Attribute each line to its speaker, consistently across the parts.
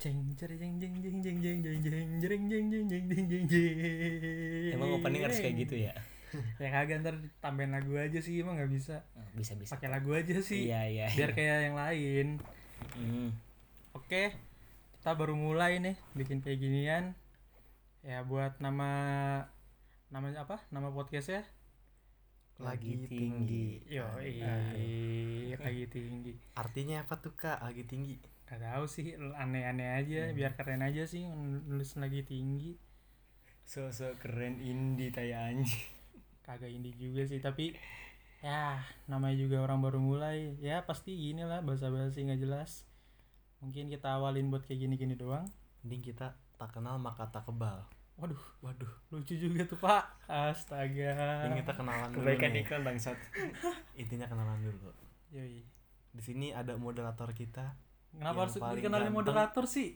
Speaker 1: Jeng jere jeng jeng jeng jeng jeng jeng jeng jeng jeng jeng jeng jeng jeng jeng.
Speaker 2: Emang opening harus kayak gitu ya?
Speaker 1: Ya kagak ntar tambahin lagu aja sih emang nggak bisa.
Speaker 2: Bisa bisa.
Speaker 1: Pakai lagu aja sih.
Speaker 2: Oh, Iya iya.
Speaker 1: Biar kayak yang lain.
Speaker 2: Hmm.
Speaker 1: Oke. Kita baru mulai nih bikin kayak ginian. Ya buat nama namanya apa? Nama podcastnya?
Speaker 2: Lagi tinggi. Iya.
Speaker 1: Yo, lagi tinggi.
Speaker 3: Artinya apa tuh kak? Lagi tinggi.
Speaker 1: Gak tahu sih, aneh-aneh aja, biar keren aja sih nulis lagi tinggi.
Speaker 2: So so keren indie tai anjing.
Speaker 1: Kagak indie juga sih, tapi ya namanya juga orang baru mulai. Ya pasti gini lah, bahasa-bahasa nggak jelas. Mungkin kita awalin buat kayak gini-gini doang.
Speaker 3: Mending kita tak kenal maka tak kebal.
Speaker 1: Waduh,
Speaker 3: Waduh.
Speaker 1: lucu juga tuh Pak. Astaga.
Speaker 3: Mending kita kenalan dulu.
Speaker 2: Kebaikan
Speaker 3: nih.
Speaker 2: iklan bangsat.
Speaker 3: Intinya kenalan dulu.
Speaker 1: Yoi.
Speaker 3: Di sini ada moderator kita.
Speaker 1: Kenapa harus
Speaker 3: Yang paling
Speaker 1: dikenalin
Speaker 3: ganteng.
Speaker 1: moderator sih?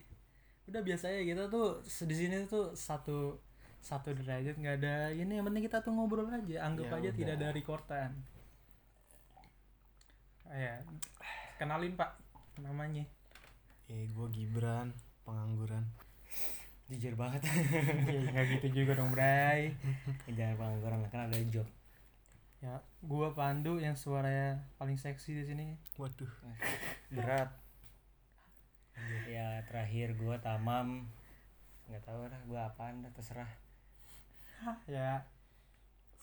Speaker 1: Udah biasanya kita tuh se- di sini tuh satu satu derajat nggak ada ini yang penting kita tuh ngobrol aja anggap
Speaker 3: Ya
Speaker 1: aja
Speaker 3: udah.
Speaker 1: tidak ada rekordan Ah, ya kenalin pak namanya
Speaker 3: Eh, gue Gibran, pengangguran.
Speaker 2: Jujur banget.
Speaker 1: Iya, nggak gitu juga dong Bray
Speaker 2: Jangan pengangguran lah kan ada job.
Speaker 1: ya gua Pandu yang suaranya paling seksi di sini
Speaker 3: Waduh.
Speaker 2: Berat. Ya terakhir gua tamam. Nggak tahu lah gua apaan dah terserah.
Speaker 1: ya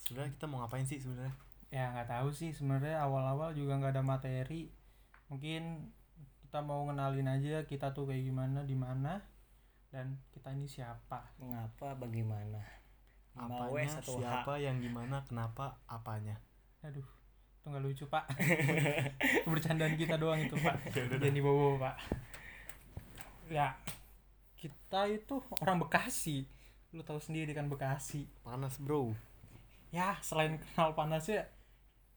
Speaker 3: Sebenarnya kita mau ngapain sih sebenarnya?
Speaker 1: ya nggak tahu sih sebenarnya awal-awal juga nggak ada materi mungkin kita mau ngenalin aja kita tuh kayak gimana di mana dan kita ini siapa
Speaker 2: Mengapa bagaimana? Lima W,
Speaker 3: Apanya,
Speaker 2: satu H.
Speaker 3: siapa, yang gimana, kenapa, apanya.
Speaker 1: aduh itu nggak lucu pak bercandaan kita doang itu pak jadi bobo pak ya kita itu orang Bekasi lu tahu sendiri kan Bekasi
Speaker 3: Panas bro.
Speaker 1: ya selain kenal panasnya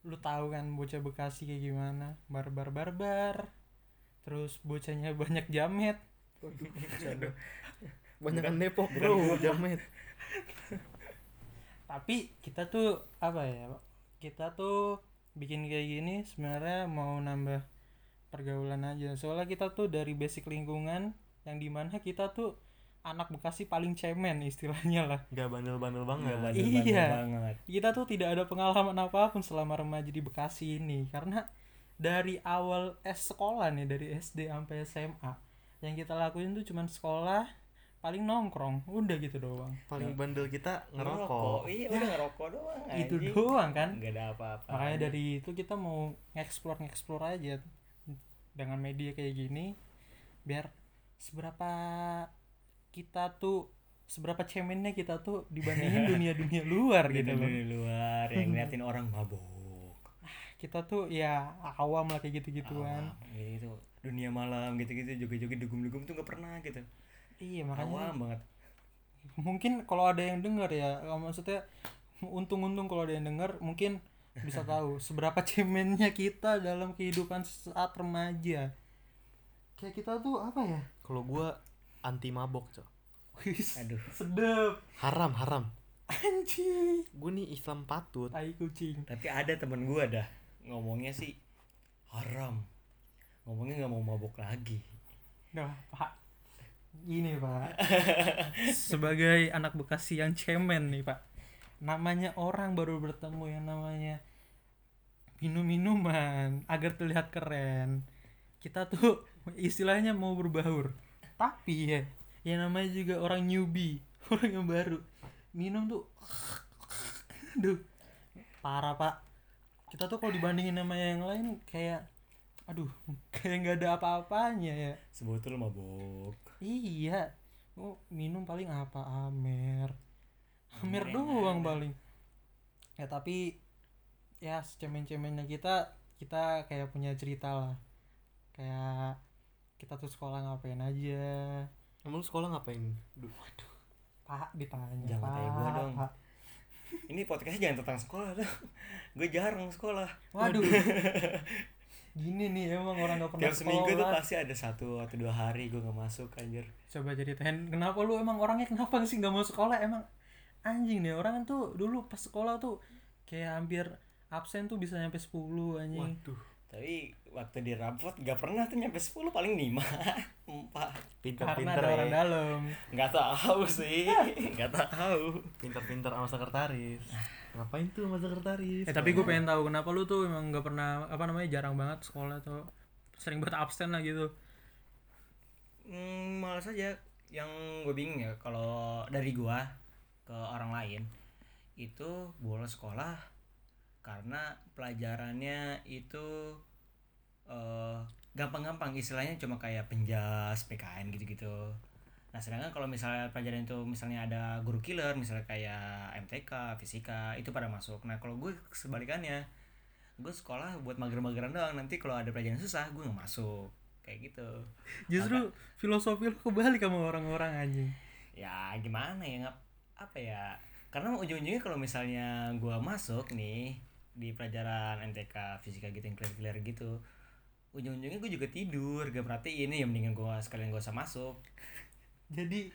Speaker 1: lu tahu kan bocah Bekasi kayak gimana barbar barbar terus bocahnya banyak jamet
Speaker 3: Banyak Depok bro, jamet.
Speaker 1: tapi kita tuh apa ya kita tuh bikin kayak gini sebenarnya mau nambah pergaulan aja soalnya kita tuh dari basic lingkungan yang dimana kita tuh anak Bekasi paling cemen istilahnya lah
Speaker 3: Gak bandel-bandel banget.
Speaker 2: Nggak bandel-bandel
Speaker 1: Iya.
Speaker 2: banget.
Speaker 1: kita tuh tidak ada pengalaman apapun selama remaja di Bekasi ini karena dari awal es sekolah nih dari SD sampai SMA yang kita lakuin tuh cuman sekolah paling nongkrong udah gitu doang
Speaker 3: Paling bandel kita ngerokok.
Speaker 2: Iya udah ngerokok doang.
Speaker 1: itu
Speaker 2: anjing.
Speaker 1: doang kan
Speaker 2: Nggak ada apa-apa.
Speaker 1: makanya dari itu kita mau ngeksplor ngeksplor aja dengan media kayak gini biar seberapa kita tuh seberapa cemennya kita tuh dibandingin dunia dunia luar gitu
Speaker 2: gitu
Speaker 1: loh
Speaker 2: di luar yang ngeliatin orang mabok
Speaker 1: kita tuh ya awam lah kayak gitu gituan
Speaker 2: awam gitu dunia malam gitu gitu joget joget dugum dugum tuh nggak pernah gitu
Speaker 1: iya makanya
Speaker 2: awam banget
Speaker 1: mungkin kalau ada yang dengar ya kalau maksudnya untung-untung kalau ada yang dengar mungkin bisa tahu seberapa cemennya kita dalam kehidupan saat remaja kayak kita tuh apa ya
Speaker 3: Kalau gue anti mabok, cok.
Speaker 1: Wis,
Speaker 2: aduh
Speaker 1: sedep
Speaker 3: Haram, haram.
Speaker 1: anjing
Speaker 3: Gue nih Islam patut.
Speaker 1: tai kucing
Speaker 2: tapi ada temen gua dah ngomongnya sih haram ngomongnya nggak mau mabok lagi
Speaker 1: nah pak gini pak sebagai anak bekasi yang cemen nih pak namanya orang baru bertemu yang namanya minum minuman agar terlihat keren kita tuh istilahnya mau berbaur tapi ya yang namanya juga orang newbie orang yang baru minum tuh aduh parah pak kita tuh kalau dibandingin sama yang lain kayak aduh kayak nggak ada apa-apanya ya
Speaker 2: sebotol mabok
Speaker 1: iya oh, minum paling apa amer amer
Speaker 2: Amer yang
Speaker 1: doang paling ya tapi ya secemen-cemennya kita kita kayak punya cerita lah kayak kita tuh sekolah ngapain aja
Speaker 3: Emang lu sekolah ngapain?
Speaker 1: pak ditanya
Speaker 2: Jangan
Speaker 1: pak,
Speaker 2: tanya gua dong.
Speaker 1: Pak."
Speaker 2: ini podcastnya jangan tentang sekolah dah gue jarang sekolah
Speaker 1: waduh gini nih emang orang gak pernah
Speaker 2: tiap seminggu tuh
Speaker 1: sekolah
Speaker 2: pasti ada satu atau dua hari gue nggak masuk anjir
Speaker 1: coba ceritain kenapa lu emang orangnya kenapa sih nggak mau sekolah emang anjing deh orang tuh dulu pas sekolah tuh kayak hampir absen tuh bisa nyampe 10 anjing
Speaker 3: Waduh.
Speaker 2: tapi waktu di rapot gak pernah tuh nyampe 10 paling 5 4
Speaker 1: karena
Speaker 3: Pinter-pinter
Speaker 1: ada
Speaker 3: ya.
Speaker 1: orang dalam
Speaker 2: nggak tahu sih nggak tahu
Speaker 3: Pinter-pinter sama sekretaris. Ngapain tuh sama sekretaris?
Speaker 1: eh tapi gue pengen tahu kenapa lu tuh emang nggak pernah apa namanya jarang banget sekolah atau sering buat absen lah gitu
Speaker 2: hmm, malas aja yang gue bingung ya kalau dari gua ke orang lain itu bolos sekolah karena pelajarannya itu eh, gampang-gampang istilahnya cuma kayak penjas PKN gitu-gitu nah sedangkan kalau misalnya pelajaran itu misalnya ada guru killer misalnya kayak MTK fisika itu pada masuk nah kalau gue sebalikannya gue sekolah buat mager-mageran doang nanti kalau ada pelajaran susah gue nggak masuk kayak gitu
Speaker 1: justru filosofi lu kebalik sama orang-orang anjing
Speaker 2: ya gimana ya ngap apa ya karena ujung-ujungnya kalau misalnya gua masuk nih di pelajaran MTK fisika gitu yang clear-clear gitu ujung-ujungnya gue juga tidur gak perhatiin ini ya mendingan gua sekalian gak usah masuk
Speaker 1: jadi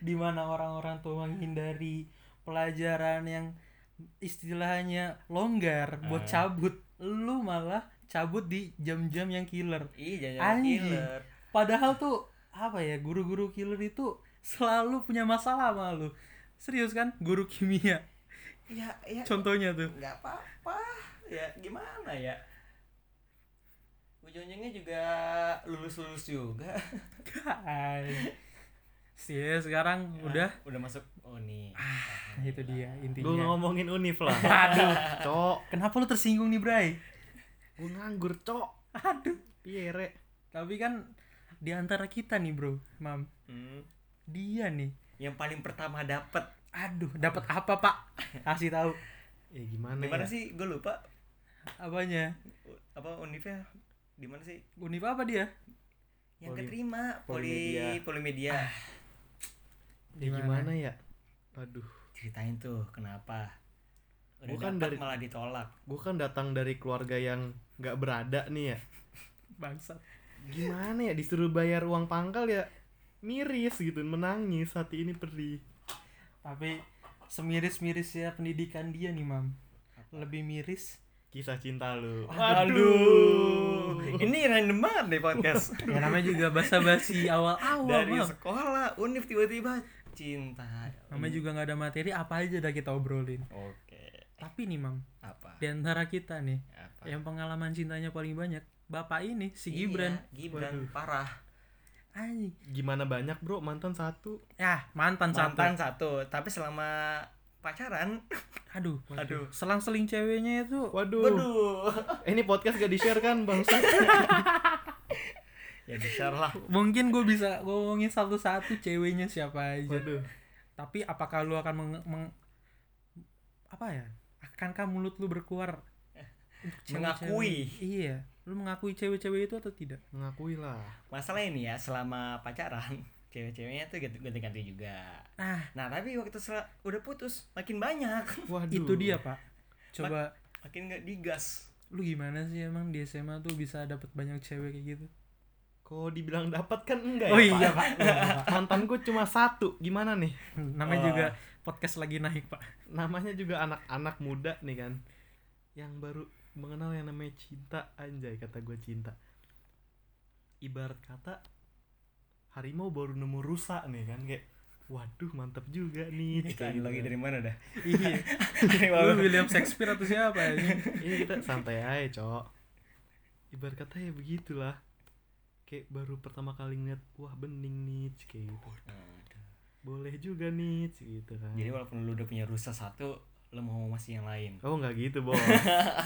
Speaker 1: di mana orang-orang tuh menghindari pelajaran yang istilahnya longgar buat
Speaker 2: Ah.
Speaker 1: cabut lu malah cabut di jam-jam yang killer
Speaker 2: ih jangan
Speaker 1: Anjing.
Speaker 2: killer
Speaker 1: padahal tuh apa ya guru-guru killer itu selalu punya masalah sama lu serius kan guru kimia
Speaker 2: ya ya
Speaker 1: contohnya tuh
Speaker 2: nggak apa-apa ya gimana ya ujung-ujungnya juga lulus-lulus juga
Speaker 1: Guys. sih sekarang udah
Speaker 2: udah masuk oh nih
Speaker 1: Nah, Ya, itu dia
Speaker 3: Gue
Speaker 1: intinya
Speaker 3: ngomongin univ lah.
Speaker 1: aduh
Speaker 3: Cok,
Speaker 1: kenapa lu tersinggung nih Bray
Speaker 3: gue nganggur, cok.
Speaker 1: aduh
Speaker 3: Piye, Rek?
Speaker 1: tapi kan di antara kita nih bro mam
Speaker 2: Hmm,
Speaker 1: dia nih
Speaker 2: yang paling pertama dapet
Speaker 1: aduh dapat apa pak kasih tahu
Speaker 3: Ya gimana,
Speaker 2: gimana
Speaker 1: Iya.
Speaker 3: ya?
Speaker 2: sih gue lupa
Speaker 1: apanya
Speaker 2: U- apa univnya di mana sih
Speaker 1: univ apa dia
Speaker 2: yang
Speaker 3: Poli-
Speaker 2: keterima poli
Speaker 3: Polimedia.
Speaker 2: polimedia Ah,
Speaker 3: Ya gimana ya? Aduh,
Speaker 2: ceritain tuh kenapa udah
Speaker 3: Bukan
Speaker 2: dapet
Speaker 3: dari-
Speaker 2: malah ditolak
Speaker 3: gue kan datang dari keluarga yang nggak berada nih ya.
Speaker 1: bangsat
Speaker 3: Gimana ya disuruh bayar uang pangkal ya? Miris gitu, menangis hati ini perih.
Speaker 1: tapi semiris-mirisnya pendidikan dia nih mam lebih miris
Speaker 3: Kisah cinta lu.
Speaker 2: aduh ini random banget deh podcast
Speaker 1: ya namanya juga basa-basi awal-awal
Speaker 2: dari
Speaker 1: mam
Speaker 2: sekolah univ tiba-tiba cinta
Speaker 1: namanya juga nggak ada materi apa aja udah kita obrolin
Speaker 2: oke
Speaker 1: tapi nih mam
Speaker 2: apa
Speaker 1: di antara kita nih
Speaker 2: apa
Speaker 1: yang pengalaman cintanya paling banyak bapak ini Ya, si Gibran
Speaker 2: Iya, Gibran parah
Speaker 1: anjing
Speaker 3: Gimana banyak, Bro? Mantan satu.
Speaker 1: ya mantan,
Speaker 2: mantan
Speaker 1: mantan
Speaker 2: satu tapi selama pacaran
Speaker 1: aduh
Speaker 2: Aduh.
Speaker 1: selang-seling ceweknya itu
Speaker 3: Waduh.
Speaker 2: waduh
Speaker 3: Eh, ini podcast gak di-share kan, Bangsa?
Speaker 2: ya di share lah
Speaker 1: mungkin gue bisa ngomongin satu-satu ceweknya siapa aja
Speaker 3: Waduh.
Speaker 1: tapi apakah lu akan meng, meng- apa ya akankah mulut lu berkuar untuk cewek-cewek?
Speaker 2: Mengakui.
Speaker 1: iya lu mengakui cewek-cewek itu atau tidak
Speaker 3: Mengakui lah.
Speaker 2: masalah ini ya selama pacaran cewek-ceweknya tuh ganti- ganti-ganti juga
Speaker 1: nah
Speaker 2: nah tapi waktu sel- udah putus makin banyak
Speaker 3: Waduh.
Speaker 1: itu dia pak coba
Speaker 2: makin nggak digas
Speaker 1: lu gimana sih emang di SMA tuh bisa dapat banyak cewek kayak gitu
Speaker 3: Kok dibilang dapat kan enggak
Speaker 1: oh
Speaker 3: ya, Pak?
Speaker 1: iya pak, Iya, Pak.
Speaker 3: Mantan gue cuma satu. Gimana nih?
Speaker 1: namanya
Speaker 2: Wah.
Speaker 1: juga podcast lagi naik pak
Speaker 3: Namanya juga anak-anak muda nih kan. Yang baru mengenal yang namanya cinta anjay kata gue cinta. Ibarat kata harimau baru nemu rusa nih kan kayak waduh mantep juga nih Kayak gitu
Speaker 2: lagi
Speaker 3: kan.
Speaker 2: dari mana dah
Speaker 1: iya lu gitu. William Shakespeare atau siapa ya
Speaker 3: ini Iya, kita santai aja cok ibarat kata ya begitulah kayak baru pertama kali ngeliat wah bening nih kayak gitu boleh juga nih gitu kan
Speaker 2: Hmm, jadi walaupun lu udah punya rusa satu lu mau masih yang lain
Speaker 3: oh nggak gitu bos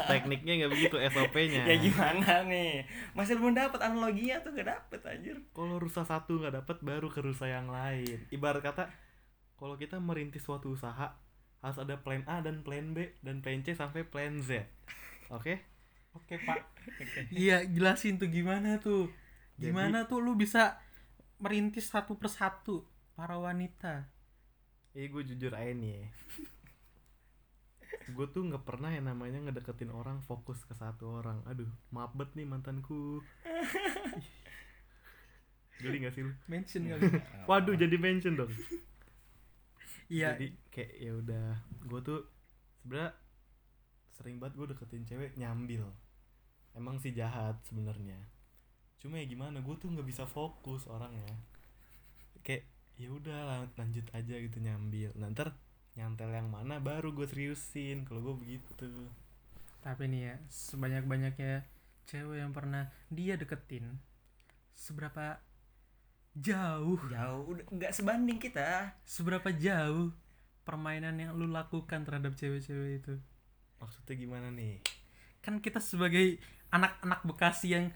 Speaker 3: tekniknya nggak begitu SOP-nya
Speaker 1: Iya.
Speaker 2: ya gimana nih masih belum dapet analoginya tuh gak dapet anjir
Speaker 3: kalau rusa satu nggak dapat baru ke rusa yang lain ibarat kata kalau kita merintis suatu usaha harus ada plan A dan plan B dan plan C sampai plan Z oke
Speaker 1: Oke pak. Iya jelasin tuh gimana tuh.
Speaker 3: Jadi-
Speaker 1: Gimana tuh lu bisa merintis satu persatu para wanita.
Speaker 3: Eh gue jujur aja nih ya Gue tuh gak pernah yang namanya ngedeketin orang fokus ke satu orang Aduh maaf bet nih mantanku Geli gak sih lu?
Speaker 1: Mention kali.
Speaker 3: Waduh jadi mention dong
Speaker 1: Iya.
Speaker 3: Jadi kayak ya udah Gue tuh sebenernya sering banget gue deketin cewek nyambil Emang sih jahat sebenarnya Cuma ya gimana gue tuh gak bisa fokus orangnya kayak ya udah lan- lanjut aja gitu nyambil Nah, ntar nyantel yang mana baru gue seriusin kalau gue begitu
Speaker 1: Tapi nih ya, sebanyak-banyaknya cewek yang pernah dia deketin, seberapa jauh,
Speaker 2: jauh udah nggak sebanding kita
Speaker 1: seberapa jauh permainan yang lu lakukan terhadap cewek-cewek itu.
Speaker 3: maksudnya gimana nih
Speaker 1: Kan kita sebagai anak-anak Bekasi yang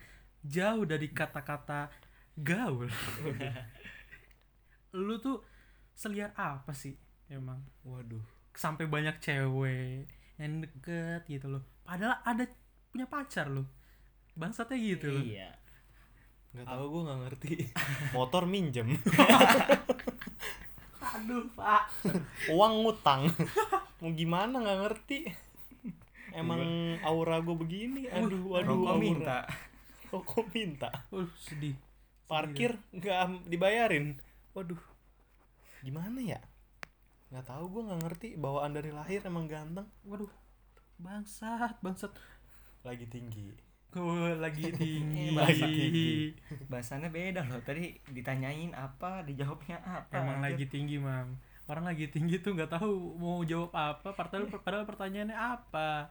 Speaker 1: jauh dari kata-kata gaul. lu tuh seliar apa sih emang?
Speaker 3: waduh
Speaker 1: Sampai banyak cewek yang deket gitu loh. Padahal ada punya pacar loh. Bangsatnya gitu loh.
Speaker 2: iya
Speaker 3: nggak tahu gue nggak ngerti motor minjem
Speaker 1: Aduh, Pak.
Speaker 3: uang ngutang mau gimana nggak ngerti emang aura gue begini aduh aduh
Speaker 2: rokok
Speaker 3: aura.
Speaker 2: minta
Speaker 3: rokok minta
Speaker 1: Uh, sedih. Iya.
Speaker 3: parkir nggak am- dibayarin waduh gimana ya nggak tahu gue nggak ngerti bawaan dari lahir emang ganteng
Speaker 1: Waduh. Bangsat, bangsat.
Speaker 3: lagi tinggi
Speaker 1: Gue lagi tinggi.
Speaker 2: Iya,
Speaker 3: Lagi tinggi.
Speaker 2: bahasannya beda loh tadi ditanyain apa dijawabnya apa
Speaker 1: Emang
Speaker 2: anjir.
Speaker 1: lagi tinggi, Mam. Orang lagi tinggi tuh nggak tahu mau jawab apa, padahal padahal pertanyaannya apa.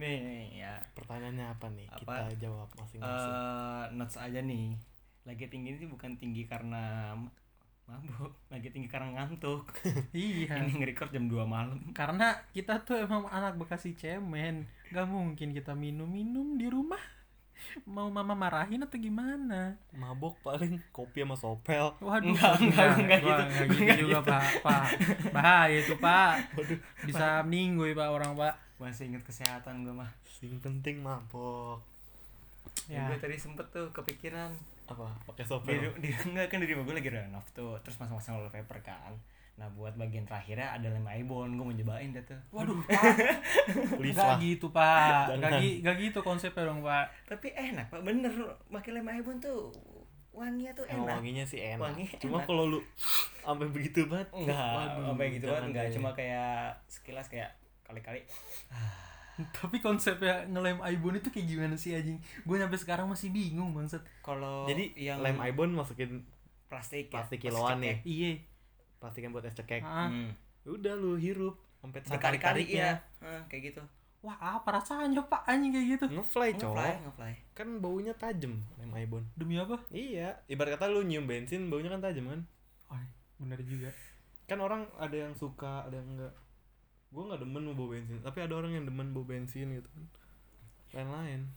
Speaker 2: nih, nih ya
Speaker 3: pertanyaannya apa nih
Speaker 2: Apa?
Speaker 3: kita jawab masing-masing
Speaker 2: eh notes aja nih lagi tinggi ini bukan tinggi karena ma- mabuk lagi tinggi karena ngantuk
Speaker 1: iya.
Speaker 2: ini nge-record jam 2 malam
Speaker 1: Karena kita tuh emang anak Bekasi cemen. Gak mungkin kita minum-minum di rumah. Mau mama marahin atau gimana?
Speaker 3: mabok paling kopi sama sopel
Speaker 1: Waduh,
Speaker 2: Enggak, enggak, enggak
Speaker 1: gua
Speaker 2: gitu.
Speaker 1: enggak gitu
Speaker 2: Enggak
Speaker 1: juga,
Speaker 2: gitu.
Speaker 1: Pak. Pak. Bahaya itu, Pak. Bisa meninggal ya, Pak, orang, Pak.
Speaker 2: masih inget kesehatan gue mah
Speaker 3: sing penting mabok
Speaker 1: Ya.
Speaker 2: gue tadi sempet tuh kepikiran
Speaker 3: apa pakai
Speaker 2: di,
Speaker 3: sopel
Speaker 2: di, enggak kan di rumah gue lagi renov tuh terus masang-masang roller paper kan nah buat bagian terakhirnya ada lem aibon gue mau nyobain dah tuh
Speaker 1: Waduh, Pak.
Speaker 3: please
Speaker 1: Enggak
Speaker 3: lah
Speaker 1: gitu, Pak.
Speaker 3: Jangan.
Speaker 1: Enggak gi- enggak gitu konsepnya dong, Pak.
Speaker 2: tapi enak pak bener pakai lem aibon tuh wanginya tuh
Speaker 3: Emang
Speaker 2: enak
Speaker 3: wanginya sih enak
Speaker 2: Wangi enak.
Speaker 3: cuma kalau lu sampai begitu banget
Speaker 2: enggak
Speaker 3: waduh,
Speaker 2: sampai gitu
Speaker 3: jangan
Speaker 2: banget enggak
Speaker 3: deh.
Speaker 2: cuma kayak sekilas kayak kali-kali
Speaker 1: Tapi konsepnya ngelem Aibon itu kayak gimana sih anjing? Gue sampai sekarang masih bingung, bangsat.
Speaker 2: kalau
Speaker 3: jadi
Speaker 2: yang
Speaker 3: lem ibon masukin
Speaker 2: plastik ya,
Speaker 3: plastik kiloan nih
Speaker 2: cekek.
Speaker 1: Iya.
Speaker 3: plastik yang buat es cekek Ya
Speaker 1: Ah,
Speaker 2: Hmm.
Speaker 3: udah lu hirup sampai
Speaker 2: berkali-kali ya
Speaker 3: tarik-tariknya
Speaker 2: Heeh, kayak gitu
Speaker 1: wah, apa rasanya, Pak? Anjing kayak gitu.
Speaker 3: ngefly
Speaker 2: ngefly
Speaker 3: cowok
Speaker 2: ngefly
Speaker 3: kan baunya tajam lem ibon
Speaker 1: Demi apa?
Speaker 3: iya ibarat kata lu nyium bensin baunya kan tajam kan
Speaker 1: Oh, bener juga.
Speaker 3: kan orang ada yang suka ada yang enggak gue nggak demen mau bau bensin tapi ada orang yang demen bau bensin gitu kan lain-lain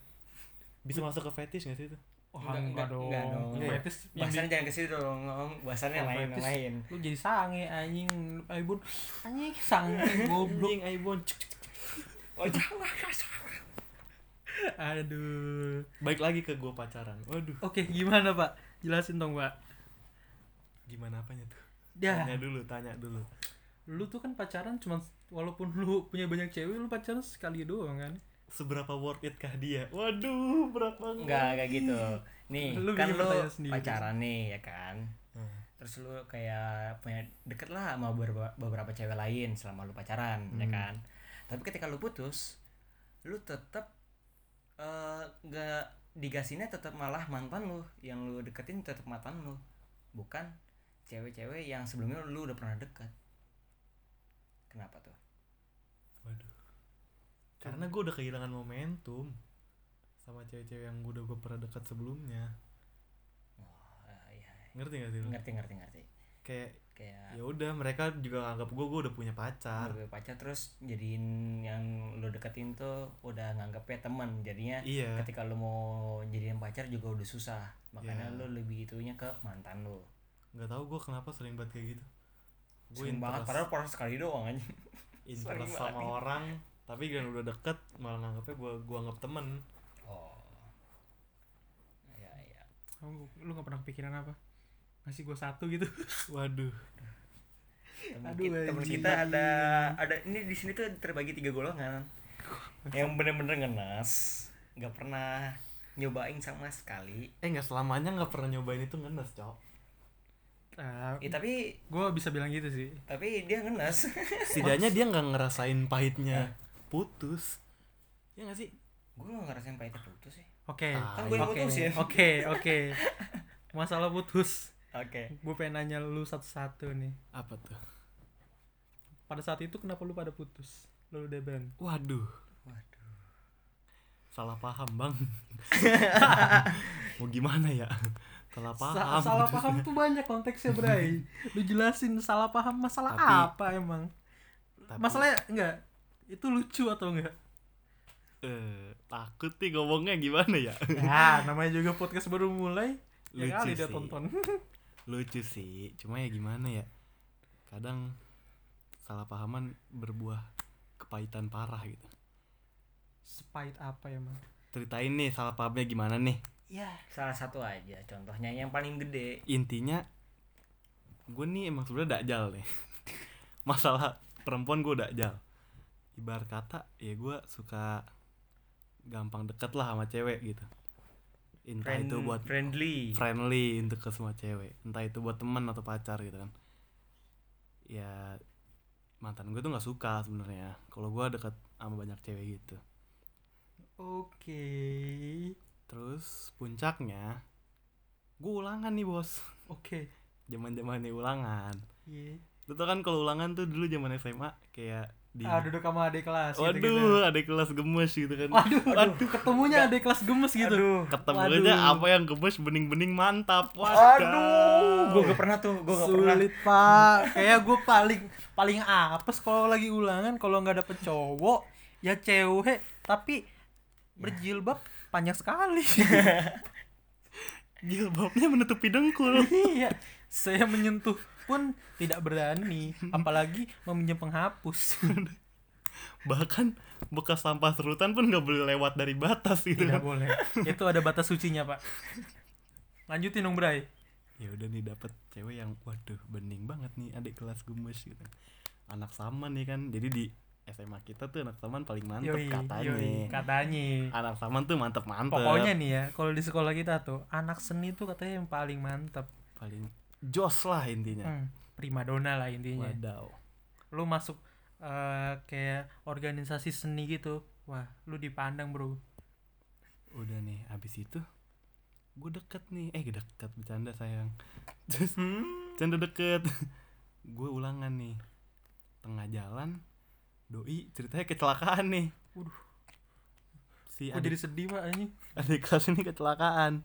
Speaker 3: bisa masuk ke fetish gak sih itu
Speaker 1: Wah, enggak,
Speaker 2: Enggak, enggak,
Speaker 1: dong. Iya.
Speaker 2: enggak dong.
Speaker 1: Enggak, Fetis yang di-
Speaker 2: bahasannya jangan ke situ dong ngomong bahasannya yang
Speaker 1: Kalau
Speaker 2: lain yang
Speaker 1: fetis,
Speaker 2: lain
Speaker 1: lu jadi sange anjing Aibon anjing sange goblok
Speaker 3: anjing ibon cuk, cuk, cuk.
Speaker 2: oh jangan
Speaker 1: aduh
Speaker 3: balik lagi ke gue pacaran waduh
Speaker 1: oke gimana pak jelasin dong pak
Speaker 3: gimana apanya tuh
Speaker 1: ya
Speaker 3: tanya dulu tanya dulu
Speaker 1: lu tuh kan pacaran cuman walaupun lu punya banyak cewek lu pacaran sekali doang kan
Speaker 3: seberapa worth it kah dia waduh berat banget
Speaker 2: enggak enggak gitu nih
Speaker 1: Lu
Speaker 2: kan
Speaker 1: bikin
Speaker 2: lu
Speaker 1: pertanyaan sendiri.
Speaker 2: pacaran nih ya kan
Speaker 3: Hmm.
Speaker 2: terus lu kayak punya deket lah sama beberapa, beberapa cewek lain selama lu pacaran ya
Speaker 3: Hmm.
Speaker 2: kan tapi ketika lu putus lu tetap eh, nggak digasinnya tetap malah mantan lu yang lu deketin tetap mantan lu bukan cewek-cewek yang sebelumnya lu udah pernah deket kenapa tuh
Speaker 3: waduh karena gue udah kehilangan momentum sama cewek-cewek yang gue udah gue pernah dekat sebelumnya
Speaker 2: Wah, iya.
Speaker 3: ngerti gak sih lu?
Speaker 2: ngerti ngerti ngerti
Speaker 3: kayak
Speaker 2: kayak
Speaker 3: ya udah mereka juga nganggap gue gue udah punya pacar
Speaker 2: Gue pacar terus jadiin yang lu deketin tuh udah nganggepnya temen jadinya
Speaker 3: iya
Speaker 2: ketika lu mau jadiin pacar juga udah susah makanya
Speaker 3: Ya.
Speaker 2: lu lebih itunya ke mantan lu
Speaker 3: nggak tahu gue kenapa sering banget kayak gitu gue
Speaker 2: sering banget padahal pernah sekali doang aja sering
Speaker 3: interest sama
Speaker 2: banget.
Speaker 3: orang tapi kan udah deket malah nganggapnya gue gue anggap temen
Speaker 2: oh ya ya
Speaker 1: lu, lu gak pernah kepikiran apa ngasih gua satu gitu
Speaker 3: waduh
Speaker 2: temen,
Speaker 1: Aduh,
Speaker 2: kita, temen
Speaker 1: anjing.
Speaker 2: kita ada ada ini di sini tuh terbagi tiga golongan yang bener-bener ngenes nggak pernah nyobain sama sekali
Speaker 3: eh nggak selamanya nggak pernah nyobain itu ngenes cok
Speaker 1: nah,
Speaker 3: Ah.
Speaker 2: Eh, tapi
Speaker 1: gue bisa bilang gitu sih
Speaker 2: tapi dia ngenes
Speaker 3: setidaknya dia nggak ngerasain
Speaker 1: Eh.
Speaker 3: pahitnya putus ya nggak sih
Speaker 2: gue gak ngerasain pahitnya putus sih
Speaker 1: oke
Speaker 3: Ah,
Speaker 2: kan gue yang
Speaker 1: oke
Speaker 2: putusin
Speaker 1: oke oke masalah putus
Speaker 2: Oke.
Speaker 1: gue pengen nanya lu satu-satu nih
Speaker 3: Apa tuh?
Speaker 1: pada saat itu kenapa lu pada putus lu udah berantem
Speaker 3: Waduh.
Speaker 2: Waduh.
Speaker 3: Salah paham, Bang. Mau gimana ya? Salah
Speaker 1: Sa-
Speaker 3: paham.
Speaker 1: salah paham tuh banyak konteksnya Bray lu jelasin salah paham masalah
Speaker 3: Tapi-
Speaker 1: apa emang
Speaker 3: Tapi,
Speaker 1: masalahnya enggak itu lucu atau enggak
Speaker 3: eh, takut nih ngomongnya gimana ya?
Speaker 1: ya namanya juga podcast baru mulai ya kali
Speaker 3: Lucu
Speaker 1: dia
Speaker 3: sih.
Speaker 1: tonton
Speaker 3: Lucu sih, cuma ya gimana ya? Kadang salah pahaman berbuah kepahitan parah gitu.
Speaker 1: sepahit apa emang
Speaker 3: Ceritain nih salah pahamnya gimana nih?
Speaker 2: Ya, salah satu aja contohnya yang paling gede.
Speaker 3: intinya gue nih emang sebenarnya dakjal nih masalah perempuan gue dakjal ibarat kata ya gue suka gampang deket lah sama cewek gitu entah
Speaker 2: Friend-
Speaker 3: itu buat
Speaker 2: friendly.
Speaker 3: friendly untuk ke semua cewek entah itu buat teman atau pacar gitu kan ya mantan gue tuh nggak suka sebenarnya kalau gue deket sama banyak cewek gitu
Speaker 1: oke
Speaker 3: terus puncaknya gue ulangan nih bos
Speaker 1: oke
Speaker 3: zaman zamannya ulangan
Speaker 1: iya
Speaker 3: Lu tau kan kalau ulangan tuh dulu zaman SMA kayak di
Speaker 1: ah duduk sama adik kelas
Speaker 3: Waduh,
Speaker 1: gitu-gitu.
Speaker 3: ada kelas gemes gitu kan.
Speaker 1: waduh waduh ketemunya adik kelas gemes gitu
Speaker 2: Aduh.
Speaker 3: Ketemunya
Speaker 1: waduh.
Speaker 3: apa yang gemes bening-bening mantap.
Speaker 2: Aduh, gue gak pernah tuh, gue gak pernah.
Speaker 1: sulit pak kayak gue paling paling apes kalau lagi ulangan kalau nggak dapet cowok ya cewek tapi berjilbab panjang sekali
Speaker 3: Jilbabnya menutupi dengkul.
Speaker 1: iya saya menyentuh pun tidak berani apalagi meminjam penghapus
Speaker 3: Bahkan bekas sampah serutan pun nggak boleh lewat dari batas gitu.
Speaker 1: tidak
Speaker 3: kan.
Speaker 1: boleh itu ada batas sucinya pak lanjutin dong Bray
Speaker 3: Ya udah nih dapet cewek yang waduh bening banget nih adik kelas gemes gitu. Anak saman nih kan. Jadi di SMA kita tuh anak saman paling mantep
Speaker 1: Yoi,
Speaker 3: katanya.
Speaker 1: yoi, katanya
Speaker 3: Anak saman tuh mantep-mantep.
Speaker 1: pokoknya nih ya kalau di sekolah kita tuh anak seni tuh katanya yang paling mantep
Speaker 3: paling jos lah intinya.
Speaker 1: hmm, iya. primadona lah intinya
Speaker 3: Wadaw.
Speaker 1: lu masuk eh, kayak organisasi seni gitu wah lu dipandang bro
Speaker 3: udah nih abis itu gue deket nih eh deket bercanda sayang terus bercanda deket gue ulangan nih tengah jalan doi ceritanya kecelakaan nih
Speaker 1: Waduh.
Speaker 3: si
Speaker 1: gue
Speaker 3: adik,
Speaker 1: jadi sedih pak ini
Speaker 3: adik kelas ini kecelakaan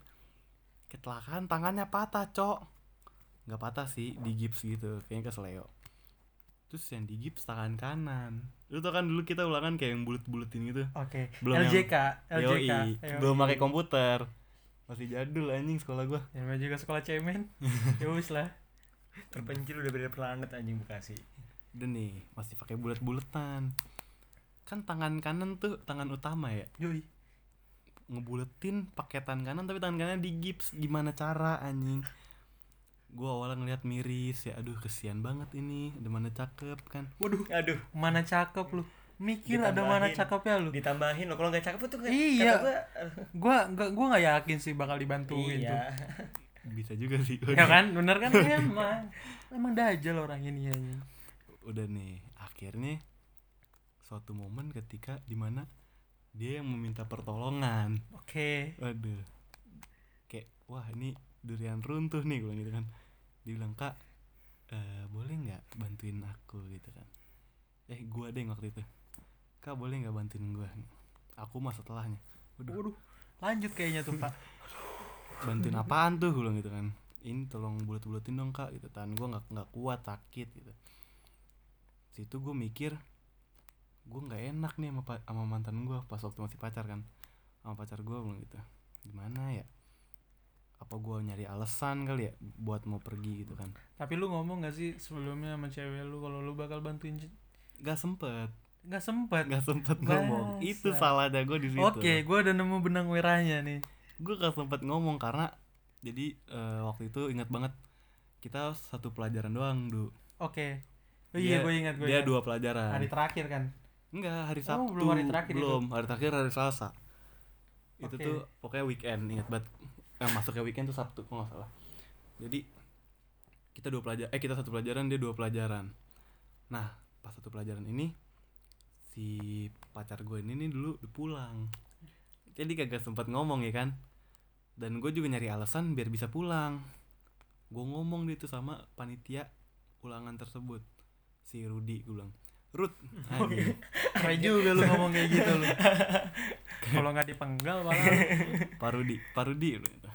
Speaker 3: kecelakaan tangannya patah cok nggak patah sih di gips gitu kayaknya kesleo terus yang di gips tangan kanan lu tau kan dulu kita ulangan kayak yang bulut-bulutin gitu
Speaker 1: oke
Speaker 3: Belum yang-
Speaker 1: LJK LJK
Speaker 3: Yoi, belum pakai komputer. Masih jadul anjing sekolah gua.
Speaker 1: ya namanya juga sekolah cemen ya wis lah
Speaker 2: Terpencil udah beda planet anjing Bekasi.
Speaker 3: Udah nih, masih pakai bulat-bulatan. Kan tangan kanan tuh tangan utama ya.
Speaker 1: yoi
Speaker 3: Ngebuletin pakai tangan kanan tapi tangan kanan di gips. Gimana cara anjing? Gua awalnya ngeliat miris ya, aduh kesian banget ini. Ada mana cakep kan?
Speaker 1: waduh
Speaker 2: Aduh,
Speaker 1: mana cakep lu mikir ada mana
Speaker 2: Ditambahin.
Speaker 1: cakepnya lu
Speaker 2: ditambahin loh kalau nggak cakep tuh kayak-
Speaker 1: Iya.
Speaker 2: kata gua, aduh,
Speaker 1: gua nggak gua nggak yakin sih bakal dibantuin
Speaker 2: iya.
Speaker 1: tuh
Speaker 3: Bisa juga sih.
Speaker 1: ya kan bener kan emang emang dajal orang ini ya
Speaker 3: Udah nih, akhirnya suatu momen ketika dimana dia yang meminta pertolongan.
Speaker 1: oke
Speaker 3: Waduh. Kayak wah ini durian runtuh nih gue gitu kan. Dibilang kak eh, boleh nggak bantuin aku gitu kan. Eh gua deh waktu itu. Kak boleh nggak bantuin gua? Aku mah setelahnya. Waduh,
Speaker 1: waduh lanjut kayaknya tuh pak
Speaker 3: bantuin apaan tuh gue bilang gitu kan. Ini tolong bulat-bulatin dong kak gitu. Tangan gua nggak nggak kuat sakit gitu. Situ gue mikir gue nggak enak nih sama, pa- sama mantan gua pas waktu masih pacar kan sama pacar gua bilang gitu gimana ya apa gua nyari alasan kali ya buat mau pergi gitu kan
Speaker 1: tapi lu ngomong gak sih sebelumnya sama cewek lu kalau lu bakal bantuin ce-
Speaker 3: nggak sempet
Speaker 1: nggak sempet
Speaker 3: nggak gitu. sempet ngomong
Speaker 1: Bangsat.
Speaker 3: itu salahnya gue di situ
Speaker 1: Oke, gua udah nemu benang merahnya nih.
Speaker 3: gue gak sempet ngomong karena jadi eh, waktu itu ingat banget kita satu pelajaran doang du
Speaker 1: Oke. Oh
Speaker 3: Dia-
Speaker 1: iya, gue ingat gue.
Speaker 3: dia
Speaker 1: ingat.
Speaker 3: dua pelajaran
Speaker 1: Hari terakhir kan.
Speaker 3: Enggak, hari
Speaker 1: Oh,
Speaker 3: Sabtu.
Speaker 1: belum hari terakhir itu.
Speaker 3: Belum, hari terakhir hari Selasa. Itu
Speaker 1: Oke.
Speaker 3: tuh pokoknya weekend, ingat banget. Eh, masuknya weekend tuh Sabtu, kalau nggak salah. Jadi kita dua pelajar eh kita satu pelajaran, dia dua pelajaran. Nah, pas satu pelajaran ini si pacar gue ini nih dulu udah pulang. Jadi kagak sempat ngomong ya kan. Dan gue juga nyari alasan biar bisa pulang. gue ngomong deh tuh sama panitia ulangan tersebut si Rudi gue bilang Rut
Speaker 1: Oh, iya.
Speaker 3: anjing.
Speaker 1: Keren juga lu ngomong kayak gitu lu. Kalau nggak dipenggal malah lu.
Speaker 3: Pak Rudi Pak Rudi gua gitu.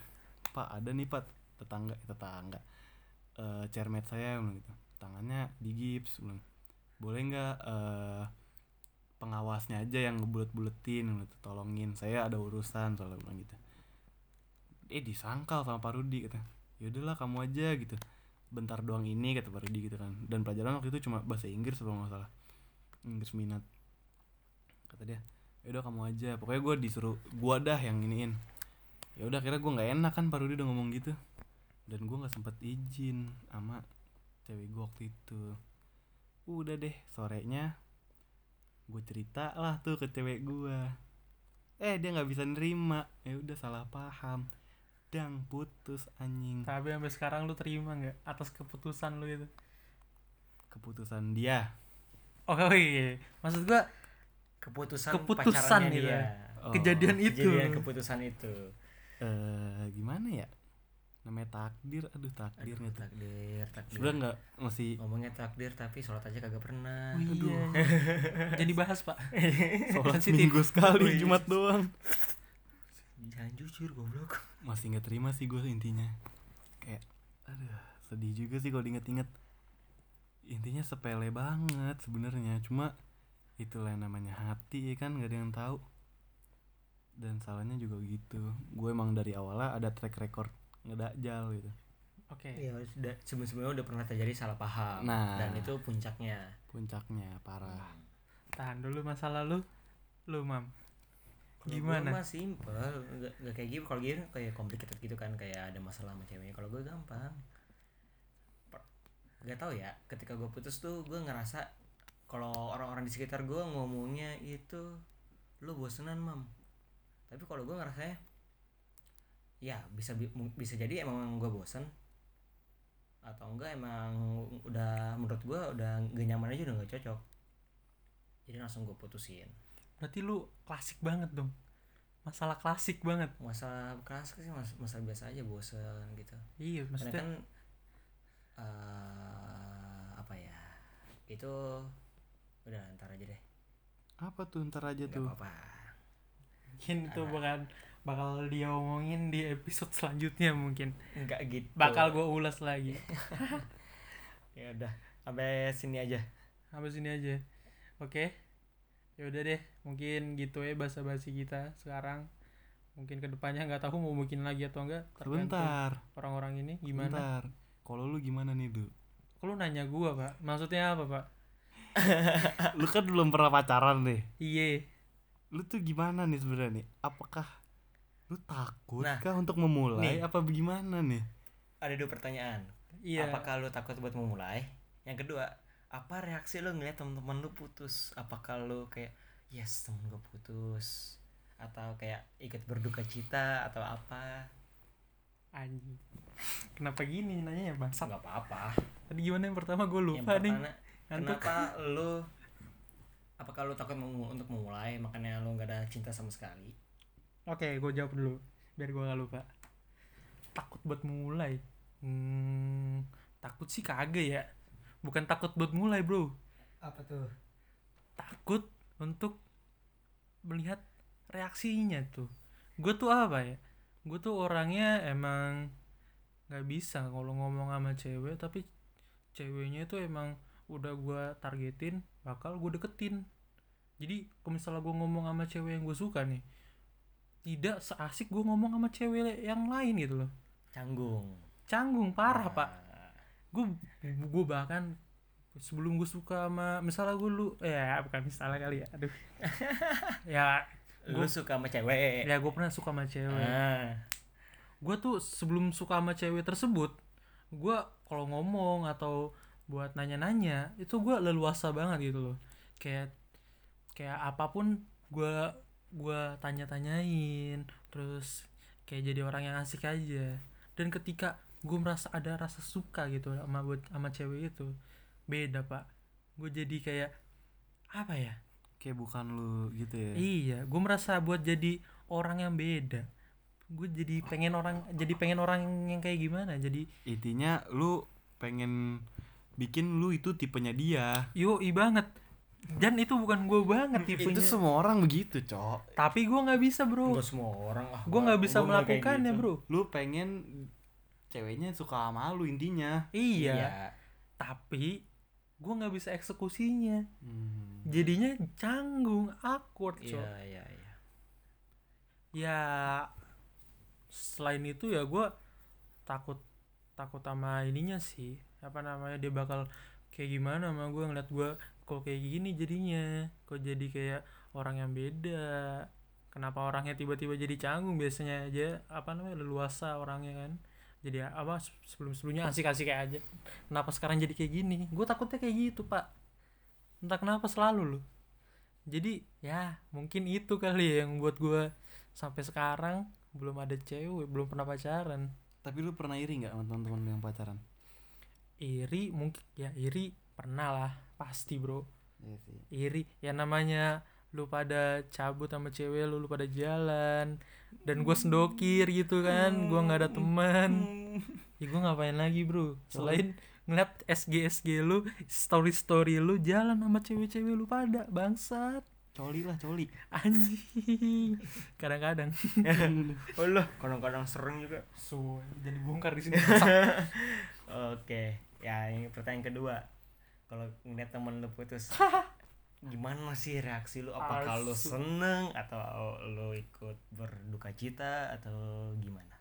Speaker 3: Pak ada nih Pak tetangga tetangga eh cermet saya gua bilang gitu tangannya di gips gua bilang boleh nggak eh pengawasnya aja yang ngebulet-buletin gua gitu tolongin saya ada urusan soalnya gua bilang gitu eh disangkal sama Pak Rudi kata yaudahlah kamu aja gitu bentar doang ini kata Pak Rudi gitu kan dan pelajaran waktu itu cuma bahasa Inggris kalau nggak salah Inggris minat kata dia yaudah kamu aja pokoknya gue disuruh gua dah yang iniin ya udah akhirnya gue nggak enak kan Pak Rudi udah ngomong gitu dan gue nggak sempet izin sama cewek gue waktu itu udah deh sorenya gue cerita lah tuh ke cewek gue eh dia nggak bisa nerima ya udah salah paham dang putus anjing
Speaker 1: Tapi sampai sekarang lu terima nggak atas keputusan lu itu?
Speaker 3: keputusan dia
Speaker 1: Oh iya. Maksud gua
Speaker 2: keputusan
Speaker 1: Keputusan
Speaker 2: pacarannya
Speaker 1: gitu
Speaker 2: dia
Speaker 1: ya.
Speaker 3: Oh,
Speaker 1: kejadian itu.
Speaker 2: kejadian keputusan itu
Speaker 3: eh, gimana ya namanya takdir aduh takdir
Speaker 2: Aduh,
Speaker 3: nggak tuh
Speaker 2: takdir takdir
Speaker 3: sebenarnya nggak masih
Speaker 2: ngomongnya takdir tapi sholat aja kagak pernah Iya.
Speaker 1: Aduh. Jadi bahas pak.
Speaker 3: sholat
Speaker 1: Sensitif.
Speaker 3: minggu
Speaker 1: Oh, iya.
Speaker 3: sekali Jumat doang
Speaker 2: jangan jujur goblok
Speaker 3: masih nggak terima sih gue intinya kayak aduh sedih juga sih kalau diinget-inget intinya sepele banget sebenarnya cuma itulah yang namanya hati ya kan nggak ada yang tahu dan salahnya juga gitu gue emang dari awalnya ada track record ngedajal gitu
Speaker 1: Oke.
Speaker 2: ya sudah sebelumnya udah pernah terjadi salah paham
Speaker 3: Nah.
Speaker 2: dan itu puncaknya
Speaker 3: puncaknya parah
Speaker 1: Tahan dulu masa lalu. Lu mam.
Speaker 2: Kalau
Speaker 1: Gimana?
Speaker 2: gua mah simple, nggak nggak kayak gitu. Kalau gitu kayak complicated gitu kan, kayak ada masalah sama ceweknya. Kalau gue gampang. Per- Gak tau ya. Ketika gue putus tuh, gue ngerasa kalau orang-orang di sekitar gue ngomongnya itu lu bosenan mam. Tapi kalau gue ngerasanya ya bisa bi- mu- bisa jadi emang gue bosen atau enggak emang udah menurut gue udah gak nyaman aja udah gak cocok jadi langsung gue putusin
Speaker 1: Berarti lu klasik banget dong. Masalah klasik banget.
Speaker 2: masalah keras sih mas masalah biasa aja bosen gitu
Speaker 1: Iya
Speaker 2: karena
Speaker 1: maksudnya.
Speaker 2: kan eh, apa ya itu udah ntar aja deh
Speaker 3: apa tuh ntar aja
Speaker 2: nggak
Speaker 3: tuh
Speaker 2: apa-apa
Speaker 1: kan Mungkin itu bakal bakal dia omongin di episode selanjutnya mungkin.
Speaker 2: nggak gitu
Speaker 1: Bakal gua ulas lagi.
Speaker 2: ya udah sampai sini aja
Speaker 1: Habis ini aja. Oke. Ya udah deh, mungkin gitu ya basa-basi kita sekarang. Mungkin kedepannya nggak tahu mau bikin lagi atau enggak. tergantung
Speaker 3: sebentar
Speaker 1: Orang-orang ini gimana?
Speaker 3: sebentar kalau lu gimana nih Du?
Speaker 1: Kalau nanya gua pak, maksudnya apa pak?
Speaker 3: lu kan belum pernah pacaran nih
Speaker 1: Iye.
Speaker 3: lu tuh gimana nih sebenarnya nih? Apakah lu takut
Speaker 2: Nah,
Speaker 3: kah untuk memulai
Speaker 2: nih.
Speaker 3: apa gimana nih?
Speaker 2: ada dua pertanyaan
Speaker 1: Iya.
Speaker 2: apakah lu takut buat memulai yang kedua apa reaksi lu ngeliat teman-teman lu putus apakah lu kayak yes temen gue putus atau kayak ikut berduka cita atau apa
Speaker 1: Anjing. Kenapa gini nanya ya bangsat?
Speaker 2: nggak apa-apa
Speaker 1: Tadi gimana yang pertama gue lupa nih.
Speaker 2: pertama,
Speaker 1: Ngantuk.
Speaker 2: Kenapa
Speaker 1: kan.
Speaker 2: lu apakah lu takut memu- untuk memulai makanya lu nggak ada cinta sama sekali?
Speaker 1: Oke, gue jawab dulu biar gue gak lupa. Takut buat mulai. Hmm, takut sih kagak ya. Bukan takut buat mulai, Bro.
Speaker 2: Apa tuh?
Speaker 1: Takut untuk melihat reaksinya tuh. Gue tuh apa ya? Gue tuh orangnya emang nggak bisa kalau ngomong sama cewek tapi ceweknya itu emang udah gue targetin bakal gue deketin jadi kalau misalnya gue ngomong sama cewek yang gue suka nih tidak seasik gue ngomong sama cewek yang lain gitu loh
Speaker 2: Canggung.
Speaker 1: canggung parah
Speaker 2: Nah,
Speaker 1: pak gue gue bahkan sebelum gue suka sama misalnya gue lu ya bukan misalnya kali ya aduh ya
Speaker 2: Lu
Speaker 1: Gua-
Speaker 2: suka sama cewek.
Speaker 1: ya gue pernah suka sama cewek
Speaker 2: Nah,
Speaker 1: gue tuh sebelum suka sama cewek tersebut gue kalau ngomong atau buat nanya-nanya itu gue leluasa banget gitu loh kayak kayak apapun gue gua tanya-tanyain terus kayak jadi orang yang asik aja dan ketika gue merasa ada rasa suka gitu sama buat sama cewek itu beda pak gue jadi kayak apa ya
Speaker 3: Kayak bukan lu gitu ya.
Speaker 1: Iya, gue merasa buat jadi orang yang beda. gue jadi pengen orang jadi pengen orang yang kayak gimana jadi
Speaker 3: intinya lu pengen bikin lu itu tipenya dia
Speaker 1: yoi banget dan itu bukan gue banget tipenya
Speaker 3: itu semua orang begitu cok
Speaker 1: tapi gue nggak bisa bro
Speaker 2: Nggak semua orang lah
Speaker 1: gue nggak bisa
Speaker 2: Gua kayak
Speaker 1: melakukannya
Speaker 2: gitu.
Speaker 1: bro
Speaker 3: lu pengen ceweknya suka sama lu intinya
Speaker 1: iya,
Speaker 2: iya
Speaker 1: tapi gue nggak bisa eksekusinya
Speaker 3: Hmm.
Speaker 1: jadinya canggung awkward
Speaker 2: iya
Speaker 1: cok
Speaker 2: iya iya
Speaker 1: ya selain itu ya gue takut takut sama ininya sih apa namanya dia bakal kayak gimana sama gue ngeliat gue kok kayak gini jadinya kok jadi kayak orang yang beda kenapa orangnya tiba-tiba jadi canggung biasanya aja apa namanya leluasa orangnya kan jadi apa sebelum sebelumnya asik-asik kayak aja kenapa sekarang jadi kayak gini gue takutnya kayak gitu pak entah kenapa selalu loh jadi ya mungkin itu kali ya yang buat gue sampai sekarang belum ada cewek belum pernah pacaran
Speaker 3: tapi lu pernah iri nggak sama teman-teman lu yang pacaran
Speaker 1: iri mungkin ya iri pernah lah pasti bro
Speaker 3: iya sih
Speaker 1: iri ya namanya lu pada cabut sama cewek lu lu pada jalan dan gue sendokir gitu kan gua nggak ada teman
Speaker 3: Hmm.
Speaker 1: ya gue ngapain lagi bro selain ngeliat SG SG lu story story lu jalan sama cewek-cewek lu pada bangsat
Speaker 3: coli lah coli
Speaker 1: anjing kadang-kadang
Speaker 2: oh loh kadang-kadang sering juga
Speaker 1: so jadi bongkar di sini
Speaker 2: Oke, ya ini pertanyaan kedua. Kalau ngeliat temen lu putus, gimana sih reaksi lu? Apakah lu
Speaker 1: Asu.
Speaker 2: seneng atau lu ikut berduka cita atau gimana?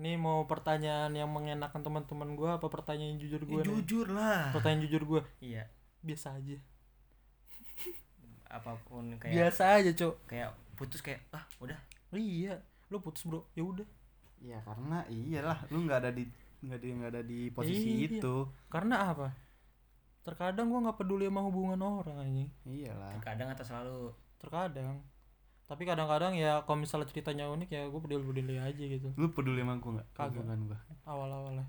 Speaker 1: Ini mau pertanyaan yang mengenakan teman-teman gue apa pertanyaan jujur gue?
Speaker 2: Ya, jujur lah.
Speaker 1: Pertanyaan jujur gue
Speaker 2: Iya,
Speaker 1: biasa aja.
Speaker 2: apapun kayak
Speaker 1: Biasa aja, Cok.
Speaker 2: kayak putus kayak ah udah
Speaker 1: Iya, lu putus, Bro. Ya udah.
Speaker 3: ya karena iyalah lu nggak ada di nggak ada nggak ada di posisi
Speaker 1: Iya.
Speaker 3: itu
Speaker 1: Karena apa? Terkadang gue nggak peduli sama hubungan orang anjing.
Speaker 3: iyalah
Speaker 2: terkadang atau selalu
Speaker 1: Terkadang. Tapi kadang-kadang ya kalau misalnya ceritanya unik ya gue peduli-peduli aja gitu.
Speaker 3: lu peduli sama gue nggak
Speaker 1: Kagak.
Speaker 3: hubungan gua
Speaker 1: Awal-awalnya.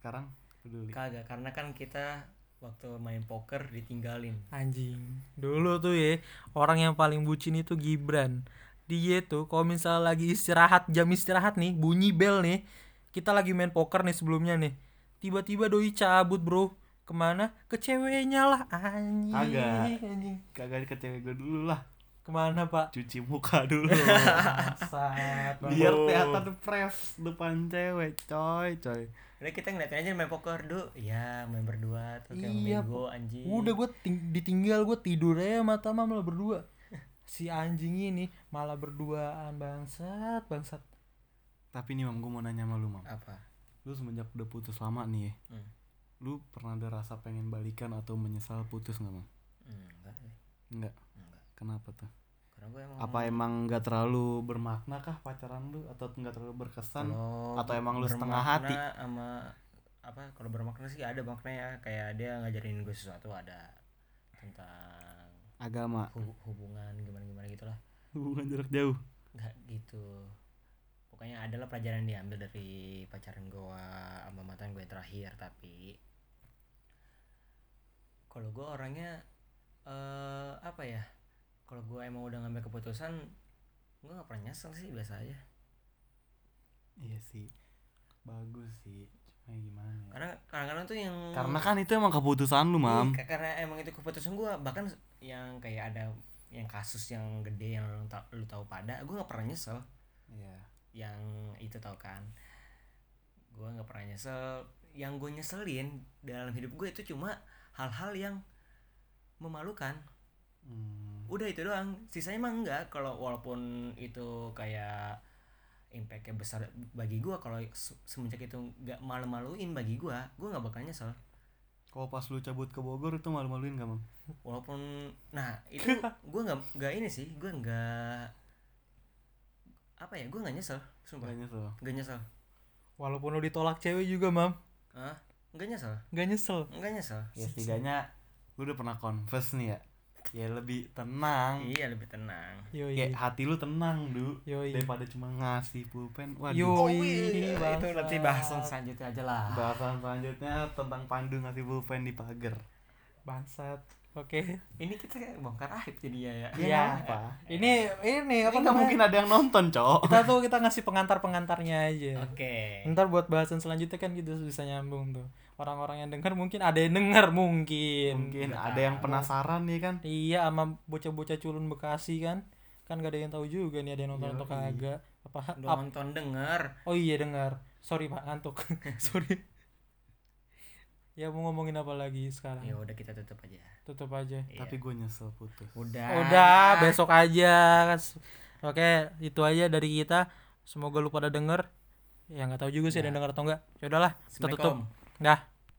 Speaker 3: sekarang peduli
Speaker 2: kagak karena kan kita waktu main poker ditinggalin.
Speaker 1: Anjing. Dulu tuh ya, orang yang paling bucin itu Gibran. Dia tuh kalau misalnya lagi istirahat, jam istirahat nih, bunyi bel nih. Kita lagi main poker nih sebelumnya nih. Tiba-tiba doi cabut, Bro. Kemana? Ke ceweknya lah, anjing.
Speaker 3: Kagak.
Speaker 1: anjing.
Speaker 3: kagak ke cewek gue dulu lah
Speaker 1: Kemana, Pak?
Speaker 3: cuci muka dulu
Speaker 1: Bangsat, Bang.
Speaker 3: biar kelihatan fresh depan cewek coy coy
Speaker 2: Udah kita ngeliatin aja main poker dulu. Iya, main berdua tuh kayak
Speaker 1: Iya,
Speaker 2: bego anjing.
Speaker 1: Udah gue ditinggal, gue tidur aja sama Tama malah berdua. Si anjing ini malah berduaan bangsat, bangsat.
Speaker 3: tapi nih mam gue mau nanya sama lu mam
Speaker 2: apa?
Speaker 3: lu semenjak udah putus lama nih ya
Speaker 2: Hmm.
Speaker 3: lu pernah ada rasa pengen balikan atau menyesal putus nggak mam
Speaker 2: Hmm, enggak sih.
Speaker 3: nggak
Speaker 2: Enggak.
Speaker 3: kenapa tuh
Speaker 2: Karena gue emang
Speaker 3: apa emang nggak terlalu bermakna kah pacaran lu atau nggak terlalu berkesan
Speaker 2: Kalau
Speaker 3: atau emang lu setengah
Speaker 2: bermakna
Speaker 3: hati?
Speaker 2: sama apa kalau bermakna sih ada makna ya kayak dia ngajarin gue sesuatu ada tentang
Speaker 3: agama
Speaker 2: hu- hubungan gitu gimana gimana gitulah
Speaker 3: hubungan jarak jauh
Speaker 2: nggak gitu pokoknya adalah pelajaran yang diambil dari pacaran gue sama mantan gue terakhir tapi kalau gue orangnya eh apa ya kalau gue emang udah ngambil keputusan gue nggak pernah nyesel sih biasa aja
Speaker 3: iya sih bagus sih cuma gimana ya
Speaker 2: karena kadang-kadang tuh yang
Speaker 3: karena kan itu emang keputusan lu mam
Speaker 2: Iya, karena emang itu keputusan gua bahkan yang kayak ada yang kasus yang gede yang lu, ta- lu tahu pada gua nggak pernah nyesel
Speaker 3: iya
Speaker 2: yang itu tau kan gua nggak pernah nyesel yang gue nyeselin dalam hidup gue itu cuma hal-hal yang memalukan
Speaker 3: Hmm.
Speaker 2: udah itu doang sisanya emang enggak kalau walaupun itu kayak impactnya besar bagi gua kalau se- semenjak itu nggak malu-maluin bagi gua gua nggak bakal nyesel
Speaker 3: kalau pas lu cabut ke Bogor itu malu-maluin gak mam
Speaker 2: walaupun nah itu gue nggak nggak ini sih gue nggak apa ya gue nggak nyesel sumpah
Speaker 3: banyak tuh
Speaker 2: nggak nyesel
Speaker 1: Walaupun lu ditolak cewek juga, Mam.
Speaker 2: Hah? nggak nyesel
Speaker 1: Gak nyesel.
Speaker 2: nggak nyesel
Speaker 3: ya setidaknya lu udah pernah confess nih ya ya lebih tenang
Speaker 2: iya lebih tenang
Speaker 1: Yoi.
Speaker 3: kayak hati lu tenang du
Speaker 1: Yoi.
Speaker 2: Iya.
Speaker 3: daripada cuma ngasih pulpen waduh
Speaker 1: Yoi. iya.
Speaker 2: itu nanti bahasan
Speaker 1: bangsat.
Speaker 2: selanjutnya aja lah
Speaker 3: bahasan selanjutnya tentang pandu ngasih pulpen di pagar
Speaker 1: Bangsat. Oke.
Speaker 2: Ini kita kayak bongkar aib jadinya ya.
Speaker 1: Iya.
Speaker 3: apa?
Speaker 1: Ini ini
Speaker 3: Ini
Speaker 1: apa
Speaker 3: nggak
Speaker 1: namanya?
Speaker 3: mungkin ada yang nonton, cok.
Speaker 1: Kita tuh kita ngasih pengantar-pengantarnya aja.
Speaker 2: Oke.
Speaker 1: Ntar buat bahasan selanjutnya kan gitu bisa nyambung tuh. Orang-orang yang dengar mungkin ada yang dengar mungkin.
Speaker 3: Mungkin
Speaker 2: Iya, nggak
Speaker 3: ada yang
Speaker 2: tahu.
Speaker 3: penasaran nih kan.
Speaker 1: Iya sama bocah-bocah culun Bekasi kan. Kan gak ada yang tahu juga nih ada yang nonton atau
Speaker 3: Yoi.
Speaker 1: kagak. Apa
Speaker 2: Udah
Speaker 1: ap-
Speaker 2: nonton denger.
Speaker 1: Oh iya dengar. Sorry Pak ngantuk. Sorry. ya mau ngomongin apa lagi sekarang?
Speaker 2: Ya udah kita tutup aja.
Speaker 1: Tutup aja.
Speaker 2: Iya.
Speaker 3: Tapi gue nyesel putus.
Speaker 2: udah.
Speaker 1: Udah, besok aja. Oke, itu aja dari kita. Semoga lu pada denger. Ya nggak tahu juga sih ada yang denger atau enggak. Ya udahlah, kita tutup.
Speaker 2: Assalamualaikum.
Speaker 1: Dah.